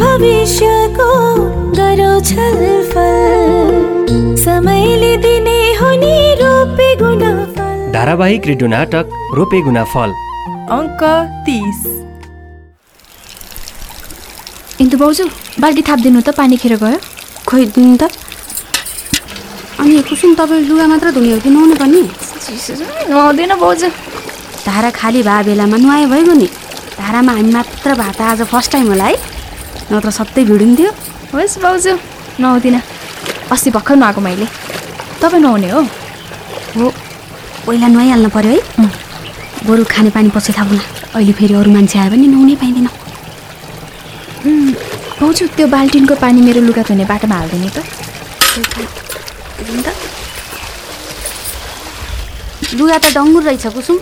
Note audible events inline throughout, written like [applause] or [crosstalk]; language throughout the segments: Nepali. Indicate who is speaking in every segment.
Speaker 1: भविष्यको गरौ छलफल समयले दिने हुने रोपे गुणफल
Speaker 2: धारावाहिक रेडियो नाटक रोपे गुनाफल
Speaker 3: अङ्क तिस
Speaker 4: इन्दु भाउजू बाल्टी थापिदिनु त पानी खेर गयो
Speaker 5: खोइ दिनु त अनि कुसुम तपाईँ लुगा मात्र धुने हो कि नुहाउनु पनि
Speaker 4: नुहाउँदैन भाउजू
Speaker 5: धारा खाली भए बेलामा नुहायो भइगयो नि धारामा हामी मात्र भए त आज फर्स्ट टाइम होला है नत्र सधैँ भिडिन्थ्यो
Speaker 4: होस् भाउजू नुहाउँदिनँ अस्ति भर्खर नुहाएको मैले तपाईँ नुहाउने हो
Speaker 5: हो पहिला नुहाइहाल्नु पऱ्यो है बरु खानेपानी पछि थाहा हुला अहिले फेरि अरू मान्छे आयो भने नुहाउनै पाइँदैन
Speaker 4: भाउजू त्यो बाल्टिनको पानी मेरो लुगा धुने बाटोमा हालिदिने त
Speaker 5: लुगा त डङ्गुर रहेछ कुसुम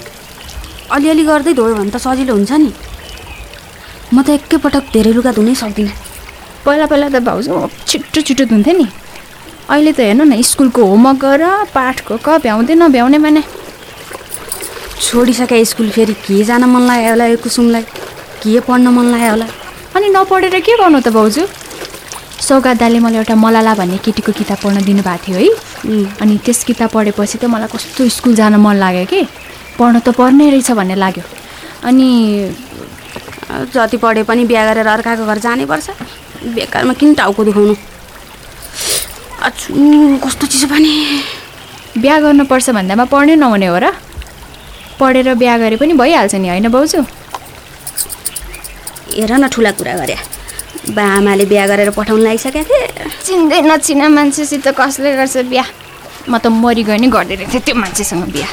Speaker 5: अलिअलि गर्दै धोयो भने त सजिलो हुन्छ नि म त एकैपटक धेरै लुगा धुनै सक्दिनँ
Speaker 4: पहिला पहिला त भाउजू म छिट्टो छिट्टो धुन्थेँ नि अहिले त हेर्नु न स्कुलको होमवर्क गर पाठको क भ्याउँदै नभ्याउने माने
Speaker 5: छोडिसके स्कुल फेरि के जान मन लाग्यो होला यो कुसुमलाई के पढ्न मन लाग्यो होला
Speaker 4: अनि नपढेर के गर्नु त भाउजू सौगात दाले मलाई एउटा मलाला भन्ने केटीको किताब पढ्न दिनुभएको थियो है
Speaker 5: उम्,
Speaker 4: अनि त्यस किताब पढेपछि त मलाई कस्तो स्कुल जान मन लाग्यो कि पढ्न त पर्ने रहेछ भन्ने लाग्यो अनि
Speaker 5: जति पढे पनि बिहा गरेर अर्काको घर जानैपर्छ बेकारमा किन टाउको दुखाउनु अछु कस्तो चिसो पानी
Speaker 4: बिहा गर्नुपर्छ भन्दामा पढ्नै नहुने हो र पढेर बिहा गरे पनि भइहाल्छ नि होइन भाउजू
Speaker 5: हेर न ठुला कुरा गरे बा आमाले बिहा गरेर पठाउनु लागिसकेको थिएँ
Speaker 4: चिन्दै नचिना मान्छेसित कसले गर्छ बिहा म त मरिगयो नि गर्दै रहेथेँ त्यो मान्छेसँग बिहा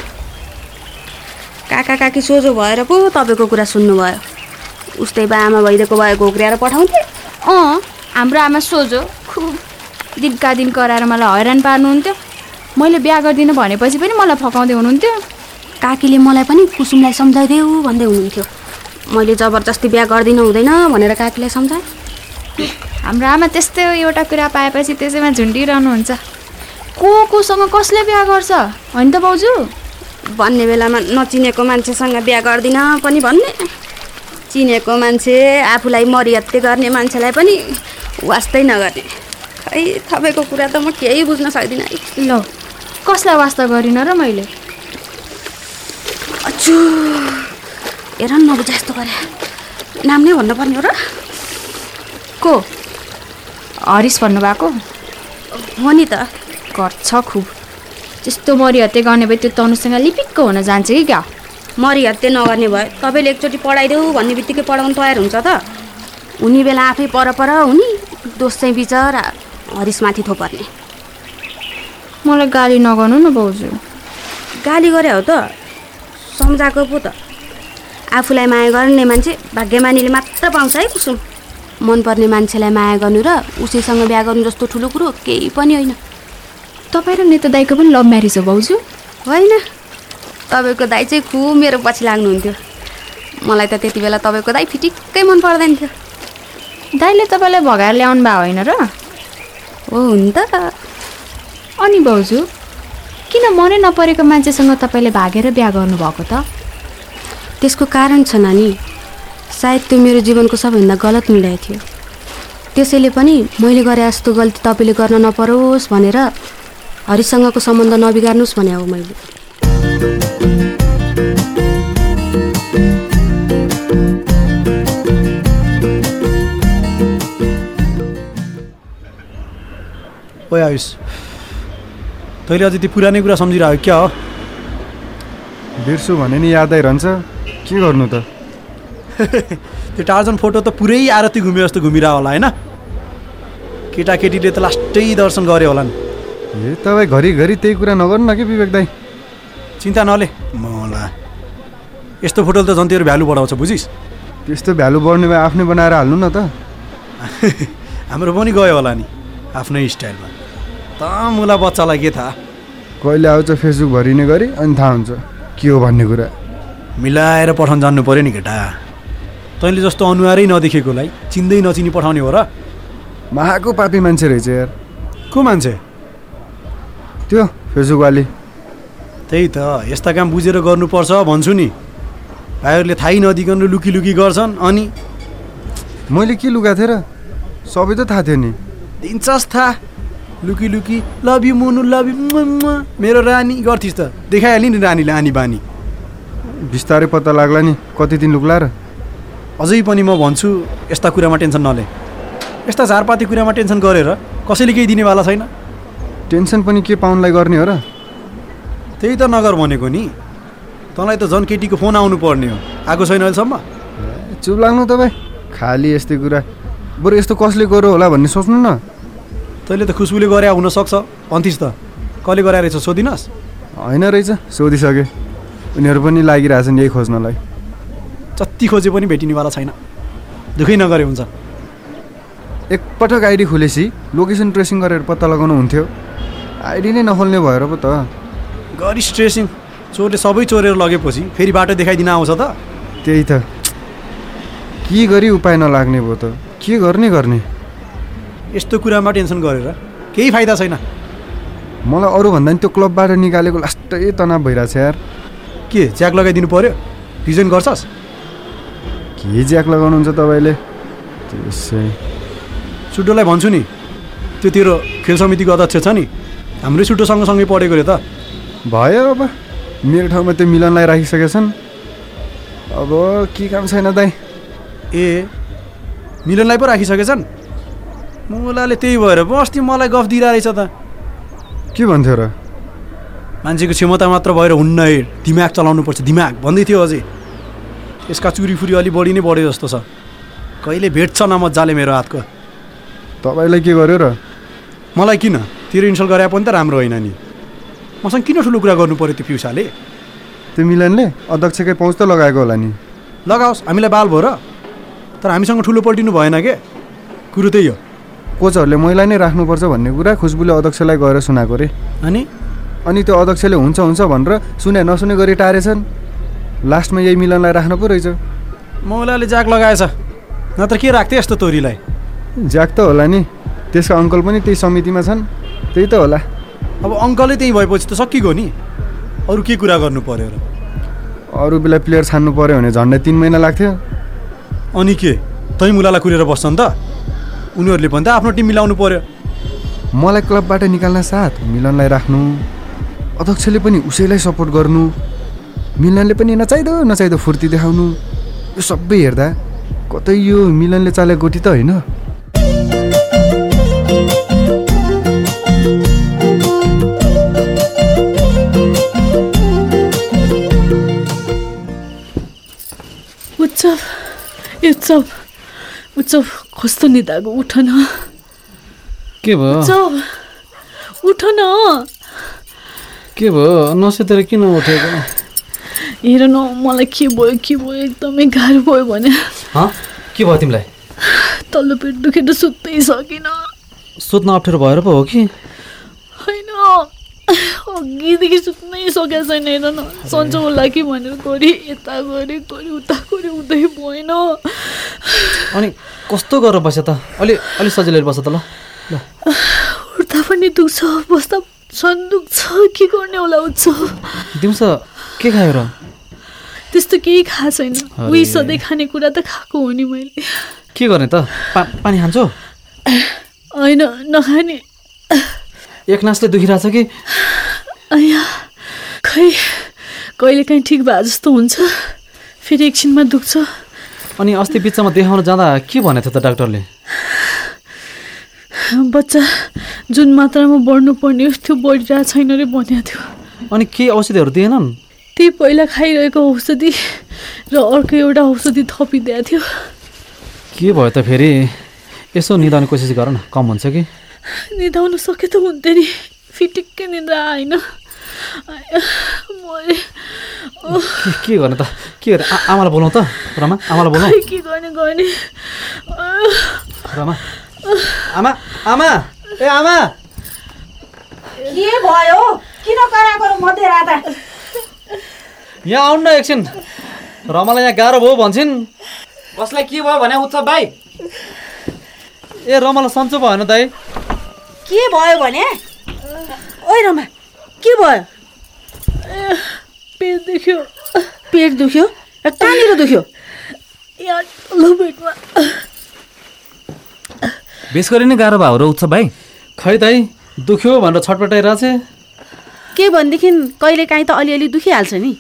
Speaker 5: काका काकी सोझो भएर पो तपाईँको कुरा सुन्नुभयो उस्तै बा आमा भइदिएको भए घोक्रिएर पठाउँथे
Speaker 4: अँ हाम्रो आमा सोझो खुब दिनका दिन कराएर मलाई हैरान पार्नुहुन्थ्यो मैले बिहा गर्दिनँ भनेपछि पनि मलाई फकाउँदै हुनुहुन्थ्यो
Speaker 5: काकीले मलाई पनि कुसुमलाई सम्झाइदेऊ भन्दै हुनुहुन्थ्यो मैले जबरजस्ती बिहा गर्दिनँ हुँदैन भनेर काकीलाई सम्झाएँ
Speaker 4: हाम्रो आमा त्यस्तै हो एउटा कुरा पाएपछि त्यसैमा झुन्डिरहनुहुन्छ को कोसँग कसले बिहा गर्छ होइन त भाउजू
Speaker 5: भन्ने बेलामा नचिनेको मान्छेसँग बिहा गर्दिनँ पनि भन्ने चिनेको मान्छे आफूलाई मरिहत्ते गर्ने मान्छेलाई पनि वास्तै नगर्ने खै तपाईँको कुरा त म केही बुझ्न सक्दिनँ है।
Speaker 4: ल कसलाई वास्ता गरिनँ र मैले
Speaker 5: अचु हेर न नबुझ यस्तो गरे नाम नै भन्नुपर्ने हो र
Speaker 4: को हरिस भन्नुभएको
Speaker 5: हो नि त
Speaker 4: गर्छ खुब त्यस्तो मरिहत्ते गर्ने भए त्यो तनुसँग लिपिक्क हुन जान्छ कि क्या
Speaker 5: मरिहत्ते नगर्ने भयो तपाईँले एकचोटि पढाइदेऊ भन्ने बित्तिकै पढाउनु तयार हुन्छ त हुने बेला आफै परपर हुने दोष चाहिँ विचार हरिसमाथि थोपर्ने
Speaker 4: मलाई गाली नगर्नु न भाउजू
Speaker 5: गाली गरे हो त सम्झाएको पो त आफूलाई माया गर्ने मान्छे भाग्यमानीले मात्र पाउँछ है कुसुम मनपर्ने मान्छेलाई माया गर्नु र उसैसँग बिहा गर्नु जस्तो ठुलो कुरो केही पनि होइन
Speaker 4: तपाईँ र नेता दाईको पनि लभ म्यारिज हो भाउजू
Speaker 5: होइन तपाईँको दाई चाहिँ खुब मेरो पछि लाग्नुहुन्थ्यो मलाई त त्यति बेला तपाईँको दाई फिटिक्कै मन पर्दैन थियो
Speaker 4: दाईले तपाईँलाई भगाएर ल्याउनु भएको होइन र
Speaker 5: हो हुन त
Speaker 4: अनि भाउजू किन मनै नपरेको मान्छेसँग तपाईँले भागेर बिहा गर्नुभएको त
Speaker 5: त्यसको कारण छ नानी सायद त्यो मेरो जीवनको सबैभन्दा गलत निर्णय थियो त्यसैले पनि मैले गरे यस्तो गल्ती तपाईँले गर्न नपरोस् भनेर हरिसँगको सम्बन्ध नबिगार्नुहोस् भने हो मैले
Speaker 6: ओए आयुष तैँले अझै त्यो पुरानै कुरा सम्झिरहेको क्या हो
Speaker 7: बिर्सु भने नि यादै रहन्छ के गर्नु त
Speaker 6: [laughs] त्यो टार्जन फोटो त पुरै आरती घुम्यो जस्तो घुमिरह होला होइन केटाकेटीले त लास्टै दर्शन गऱ्यो होला नि
Speaker 7: ए तपाईँ घरिघरि त्यही कुरा नगर्नु न कि विवेक दाई
Speaker 6: चिन्ता नले म होला यस्तो फोटोले त जन्तीहरू भ्यालु बढाउँछ बुझिस्
Speaker 7: त्यस्तो भ्यालु बढ्ने भए आफ्नै बनाएर हाल्नु न त
Speaker 6: हाम्रो पनि गयो होला नि आफ्नै स्टाइलमा त मुला बच्चालाई के थाहा
Speaker 7: कहिले आउँछ फेसबुक भरिने गरी अनि थाहा हुन्छ के हो भन्ने कुरा
Speaker 6: मिलाएर पठाउन जान्नु पऱ्यो नि केटा तैँले जस्तो अनुहारै नदेखेकोलाई चिन्दै नचिनी पठाउने हो र
Speaker 7: महाको पापी मान्छे रहेछ यार
Speaker 6: को मान्छे
Speaker 7: त्यो फेसबुकवाली
Speaker 6: त्यही त यस्ता काम बुझेर गर्नुपर्छ भन्छु नि भाइहरूले थाहै नदिकन लुकी लुकी गर्छन् अनि
Speaker 7: मैले के लुगा थिएँ र सबै त थाहा थियो नि
Speaker 6: दिन्छस् थाहा लुकी लुकी love you Munu love you मेरो रानी गर्थिस् त देखाइहाल्यो नि रानीले आनी बानी
Speaker 7: बिस्तारै पत्ता लाग्ला नि कति दिन लुक्ला र
Speaker 6: अझै पनि म भन्छु यस्ता कुरामा टेन्सन नले यस्ता झारपाती कुरामा टेन्सन गरेर कसैले केही दिनेवाला छैन
Speaker 7: टेन्सन पनि के पाउनलाई गर्ने हो र
Speaker 6: त्यही त नगर भनेको नि तँलाई त झन् केटीको फोन आउनु पर्ने हो आएको छैन अहिलेसम्म
Speaker 7: चुप लाग्नु तपाईँ खालि यस्तै कुरा बरु यस्तो कसले गर्यो होला भन्ने सोच्नु न
Speaker 6: तैँले त खुसबुले गरे हुनसक्छ भन्थिस् त कसले गराएर रहेछ सोधिनस्
Speaker 7: होइन रहेछ सोधिसकेँ उनीहरू पनि लागिरहेछन् यही खोज्नलाई
Speaker 6: जति खोजे पनि भेटिनेवाला छैन दुःखै नगरे हुन्छ
Speaker 7: एकपटक आइडी खोलेपछि लोकेसन ट्रेसिङ गरेर पत्ता लगाउनु हुन्थ्यो आइडी नै नखोल्ने भएर पो त
Speaker 6: गरी स्ट्रेसिङ चोरले सबै चोरेर लगेपछि फेरि बाटो देखाइदिन आउँछ त
Speaker 7: त्यही त के गरी उपाय नलाग्ने भयो त के गर्ने गर्ने
Speaker 6: यस्तो कुरामा टेन्सन गरेर केही फाइदा छैन
Speaker 7: मलाई अरूभन्दा नि त्यो क्लबबाट निकालेको लास्टै तनाव भइरहेछ यार
Speaker 6: के च्याक लगाइदिनु पर्यो रिजन गर्छस्
Speaker 7: के ज्याक लगाउनुहुन्छ तपाईँले त्यसै
Speaker 6: सुटोलाई भन्छु नि त्यो तेरो खेल समितिको अध्यक्ष छ नि हाम्रै सुटो सँगसँगै पढेको रे त
Speaker 7: भयो अब मेरो ठाउँमा त्यो मिलनलाई राखिसकेछन् अब के काम छैन दाइ
Speaker 6: ए मिलनलाई पो राखिसकेछन् मुलाले त्यही भएर पो अस्ति मलाई गफ दिइरहेछ त
Speaker 7: के भन्थ्यो र
Speaker 6: मान्छेको क्षमता मात्र भएर हुन्न है दिमाग चलाउनुपर्छ दिमाग भन्दै थियो अझै यसका चुरीफुरी अलि बढी नै बढ्यो जस्तो छ कहिले भेट्छ न मजाले मेरो हातको
Speaker 7: तपाईँलाई के गर्यो र
Speaker 6: मलाई किन तेरो इन्सल्ट गरे पनि त राम्रो होइन नि मसँग किन ठुलो कुरा गर्नु पऱ्यो त्यो पिउसाले
Speaker 7: त्यो मिलनले अध्यक्षकै पहुँच त लगाएको होला नि
Speaker 6: लगाओस् हामीलाई बाल भयो र तर हामीसँग ठुलो पल्टिनु भएन के कुरो त्यही हो
Speaker 7: कोचहरूले मैला नै राख्नुपर्छ भन्ने कुरा खुसबुले अध्यक्षलाई गएर सुनाएको रे
Speaker 6: अनि
Speaker 7: अनि त्यो अध्यक्षले हुन्छ हुन्छ भनेर सुने नसुने गरी टारेछन् लास्टमा यही मिलनलाई राख्नु पो रहेछ
Speaker 6: मौलाले जाक लगाएछ नत्र के राख्थेँ यस्तो तोरीलाई
Speaker 7: ज्याक त होला नि त्यसका अङ्कल पनि त्यही समितिमा छन् त्यही त होला
Speaker 6: अब अङ्कलै त्यहीँ भएपछि त सकिगयो नि अरू के कुरा गर्नु पर्यो र
Speaker 7: अरू बेला प्लेयर छान्नु पऱ्यो भने झन्डै तिन महिना लाग्थ्यो
Speaker 6: अनि के तै मुलालाई कुरेर बस्छन् त उनीहरूले पनि त आफ्नो टिम मिलाउनु पर्यो
Speaker 7: मलाई क्लबबाट निकाल्न साथ मिलनलाई राख्नु अध्यक्षले पनि उसैलाई सपोर्ट गर्नु मिलनले पनि नचाहिँदो नचाहिँदो फुर्ती देखाउनु यो सबै हेर्दा कतै यो मिलनले चालेको गोटी त होइन
Speaker 8: उत्सव उत्सव उत्सव कस्तो नि दागो उठ न
Speaker 9: के भयो
Speaker 8: उत्सव उठ न
Speaker 9: के भयो नसेतेर किन उठेको
Speaker 8: हेर न मलाई के भयो के भयो एकदमै गाह्रो भयो भने
Speaker 9: हँ के भयो तिमीलाई
Speaker 8: तल्लो पेट दुखेर सुत्नै सकिनँ
Speaker 9: सुत्न अप्ठ्यारो भएर पो हो कि
Speaker 8: होइन अघिदेखि सुत्नै सकेको छैन हेर न सन्चो होला कि भनेर गरी यता गरी गरी उता गरी हुँदै भएन
Speaker 9: अनि कस्तो गरेर बस्यो त अलि अलि सजिलो बस त ल
Speaker 8: उठ्दा पनि दुख्छ बस्दा झन् दुख्छ के गर्ने होला उत्सव
Speaker 9: दिउँसो के खायो र
Speaker 8: त्यस्तो केही खाएको छैन
Speaker 9: अरे।
Speaker 8: उही सधैँ खानेकुरा त खाएको हो नि मैले
Speaker 9: के गर्ने त पा पानी खान्छौ
Speaker 8: होइन नखाने
Speaker 9: एक नासले दुखिरहेछ कि
Speaker 8: आया खै कहिले काहीँ ठिक भए जस्तो हुन्छ फेरि एकछिनमा दुख्छ
Speaker 9: अनि अस्ति बिचमा देखाउन जाँदा के भनेको थियो त डाक्टरले
Speaker 8: बच्चा जुन मात्रामा बढ्नुपर्ने हो, त्यो बढिरहेको छैन रे भनेको थियो
Speaker 9: अनि केही औषधिहरू दिएनन्
Speaker 8: त्यही पहिला खाइरहेको औषधि र अर्को एउटा औषधि थपिदिएको थियो
Speaker 9: के भयो त फेरि यसो निदाउने कोसिस गर न कम हुन्छ कि
Speaker 8: निधाउनु सके त हुन्थ्यो नि फिटिक्कै निद्रा आएन आया, मरेँ अँ।
Speaker 9: के- के गर्ने त के गर्ने आ- आमालाई बोलाउँ त रमा आमालाई [laughs] बोलाउँ
Speaker 8: खै के गर्ने गर्ने अँ,
Speaker 9: रमा आमा आमा ए आमा
Speaker 1: के भयो किन कराएको र मध्यराता
Speaker 9: यहाँ आउनु न एकछिन रमालाई यहाँ गाह्रो भयो भन्छन् कसलाई के भयो भने उत्सव भाइ ए रमालाई सन्चो भएन दाइ
Speaker 1: के भयो भने ओइ रमा के भयो
Speaker 8: पेट दुख्यो
Speaker 1: पेट दुख्यो र कहाँनिर दुख्यो
Speaker 8: यहाँ तल्लो पेटमा
Speaker 2: बेस गरी नै गाह्रो भयो र उत्सव भाइ
Speaker 9: खै दाइ दुख्यो भनेर छटपटाइरहेको छ
Speaker 1: के भनेदेखि कहिले काहीँ त अलिअलि दुखिहाल्छ नि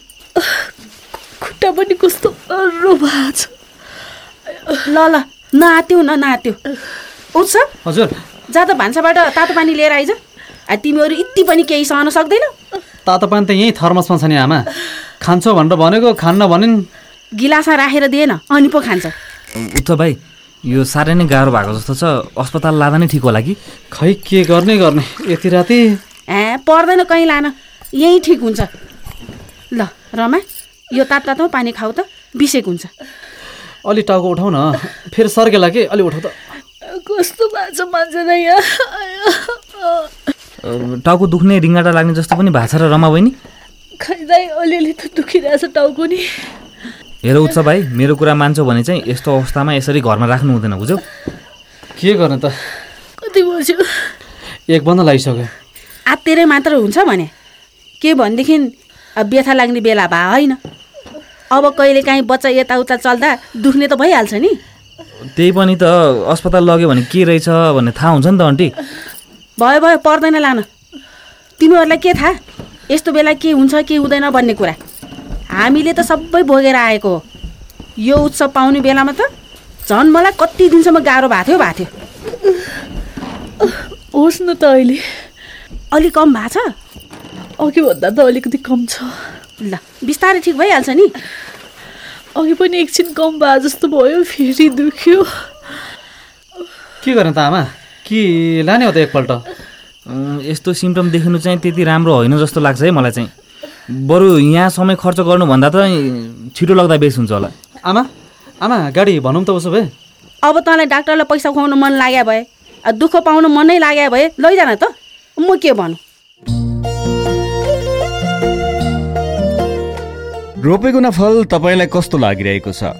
Speaker 8: खुट्टा पनि कस्तो अर्रो भएको छ
Speaker 1: ल ल नआत्यो न नआत्यो उत्सव
Speaker 9: हजुर
Speaker 1: जा त भान्साबाट तातो पानी लिएर आइज आ, तिमीहरू यति पनि केही सहन सक्दैनौ
Speaker 9: तातो पानी त यहीँ थर्मसमा छ नि आमा खान्छौ भनेर भनेको खान्न भनिन्
Speaker 1: गिलासमा राखेर दिएन अनि पो खान्छ
Speaker 2: उत्सव भाइ यो साह्रै नै गाह्रो भएको जस्तो छ अस्पताल लाँदा नै ठिक होला कि
Speaker 9: खै के गर्ने गर्ने यति राति
Speaker 1: ए पर्दैन कहीँ लान यहीँ ठिक हुन्छ ल रमा यो तातो तातो पानी खाऊ त बिसेक हुन्छ
Speaker 9: अलि टाउको उठाउ न फेरि सर्केला के अलि उठाउ त
Speaker 8: कस्तो भएको छ मान्छेलाई यहाँ
Speaker 2: टाउको दुख्ने रिङ्गाटा लाग्ने जस्तो पनि भएको छ र रमा बहिनी
Speaker 8: खैँदै अलिअलि त दुखिरहेछ टाउको नि
Speaker 2: हेर उत्सव भाइ मेरो कुरा मान्छौ भने चाहिँ यस्तो अवस्थामा यसरी घरमा राख्नु हुँदैन बुझ्यौ
Speaker 9: के गर्ने त
Speaker 8: कति बज्यो
Speaker 9: एक बन्द लागिसक्यो
Speaker 1: आत्तेरै मात्र हुन्छ भने के भनेदेखि अब व्यथा लाग्ने बेला भए होइन अब कहिले काहीँ बच्चा यताउता चल्दा दुख्ने त भइहाल्छ नि
Speaker 2: त्यही पनि त अस्पताल लग्यो भने के रहेछ भन्ने थाहा हुन्छ नि त अन्टी
Speaker 1: भयो भयो पर्दैन लान तिमीहरूलाई के थाहा यस्तो बेला के हुन्छ के हुँदैन भन्ने कुरा हामीले त सबै भोगेर आएको हो यो उत्सव पाउने बेलामा त झन् मलाई कति दिनसम्म गाह्रो भएको थियो भएको थियो
Speaker 8: होस् न त अहिले
Speaker 1: अलिक कम भएको छ
Speaker 8: अघि भन्दा त अलिकति कम छ
Speaker 1: ल बिस्तारै ठिक भइहाल्छ नि
Speaker 8: अघि पनि एकछिन कम भए जस्तो भयो फेरि दुख्यो
Speaker 9: के गर्ने त आमा कि लाने हो त एकपल्ट
Speaker 2: अँ, यस्तो सिम्टम देखिनु चाहिँ त्यति राम्रो होइन जस्तो लाग्छ है मलाई चाहिँ बरु यहाँ समय खर्च गर्नुभन्दा त छिटो लग्दा बेस हुन्छ होला
Speaker 9: आमा आमा गाडी भनौँ त उसो भए
Speaker 1: अब तँलाई डाक्टरलाई पैसा खुवाउनु मन लाग्यो भए आ, दुःख पाउनु मनै लाग्यो भए लैजान त म के भनौँ
Speaker 10: रोपेको फल तपाईँलाई कस्तो लागिरहेको छ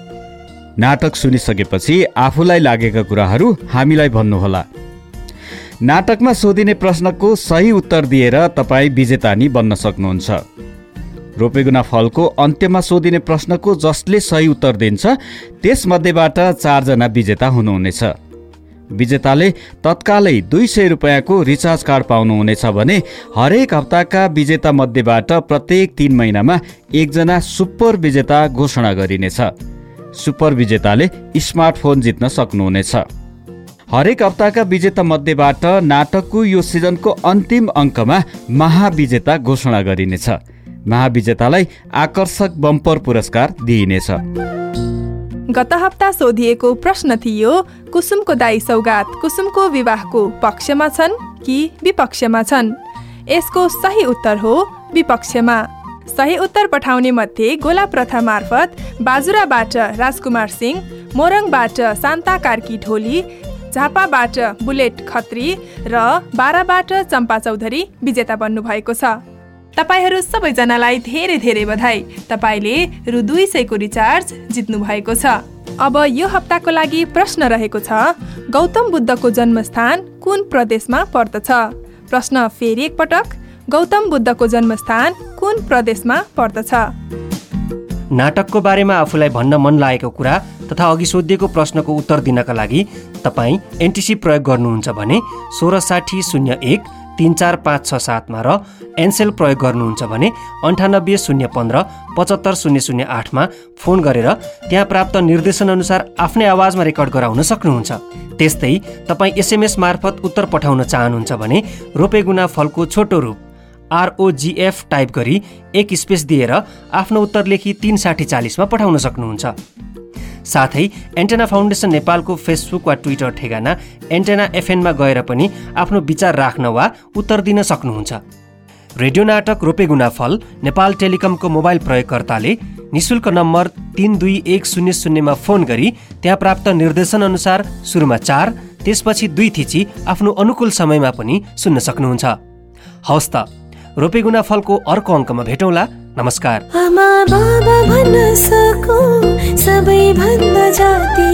Speaker 10: नाटक सुनिसकेपछि आफूलाई लागेका कुराहरू हामीलाई भन्नुहोला नाटकमा सोधिने प्रश्नको सही उत्तर दिएर तपाईँ विजेता नि बन्न सक्नुहुन्छ रोपेगुना फलको अन्त्यमा सोधिने प्रश्नको जसले सही उत्तर दिन्छ त्यसमध्येबाट चारजना विजेता हुनुहुनेछ विजेताले तत्कालै दुई सय रुपियाँको रिचार्ज कार्ड पाउनुहुनेछ भने हरेक हप्ताका विजेता मध्येबाट प्रत्येक तिन महिनामा एकजना सुपर विजेता घोषणा गरिनेछ सुपर विजेताले स्मार्टफोन जित्न सक्नुहुनेछ हरेक हप्ताका विजेता मध्येबाट नाटकको यो सिजनको अन्तिम अङ्कमा महाविजेता घोषणा गरिनेछ महाविजेतालाई आकर्षक बम्पर पुरस्कार दिइनेछ
Speaker 3: गत हप्ता सोधिएको प्रश्न थियो कुसुमको दाई सौगात कुसुमको विवाहको पक्षमा छन् कि विपक्षमा छन् यसको सही उत्तर हो विपक्षमा सही उत्तर पठाउने मध्ये गोला प्रथा मार्फत बाजुराबाट राजकुमार सिंह मोरङबाट शान्ता कार्की ढोली झापाबाट बुलेट खत्री र बाराबाट चम्पा चौधरी विजेता बन्नुभएको छ तपाईँहरू सबैजनालाई धेरै धेरै बधाई तपाईँले रु दुई सयको रिचार्ज जित्नु भएको छ अब यो हप्ताको लागि प्रश्न रहेको छ गौतम बुद्धको जन्मस्थान कुन प्रदेशमा पर्दछ प्रश्न फेरि एकपटक गौतम बुद्धको जन्मस्थान कुन प्रदेशमा पर्दछ
Speaker 2: नाटकको बारेमा आफूलाई भन्न मन लागेको कुरा तथा अघि सोधिएको प्रश्नको उत्तर दिनका लागि तपाईँ एनटिसी प्रयोग गर्नुहुन्छ भने सोह्र साठी शून्य एक तिन चार पाँच छ सातमा र एनसेल प्रयोग गर्नुहुन्छ भने अन्ठानब्बे शून्य पन्ध्र पचहत्तर शून्य शून्य आठमा फोन गरेर त्यहाँ प्राप्त निर्देशनअनुसार आफ्नै आवाजमा रेकर्ड गराउन सक्नुहुन्छ त्यस्तै तपाईँ एसएमएस मार्फत उत्तर पठाउन चाहनुहुन्छ भने रोपेगुना फलको छोटो रूप आरओजिएफ टाइप गरी एक स्पेस दिएर आफ्नो उत्तर लेखी तिन साठी चालिसमा पठाउन सक्नुहुन्छ साथै एन्टेना फाउन्डेसन नेपालको फेसबुक वा ट्विटर ठेगाना एन्टेना एफएनमा गएर पनि आफ्नो विचार राख्न वा उत्तर दिन सक्नुहुन्छ रेडियो नाटक रोपेगुना फल नेपाल टेलिकमको मोबाइल प्रयोगकर्ताले निशुल्क नम्बर तिन दुई एक शून्य शून्यमा फोन गरी त्यहाँ प्राप्त निर्देशनअनुसार सुरुमा चार त्यसपछि दुई थिची आफ्नो अनुकूल समयमा पनि सुन्न सक्नुहुन्छ हवस् त रोपेगुना फलको अर्को अङ्कमा भेटौँला नमस्कार
Speaker 11: आमा बाबा भन्न सको सबै भन्दा जाति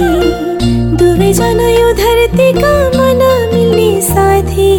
Speaker 11: दुवैजना यो धरतीका मन मिल्ने साथी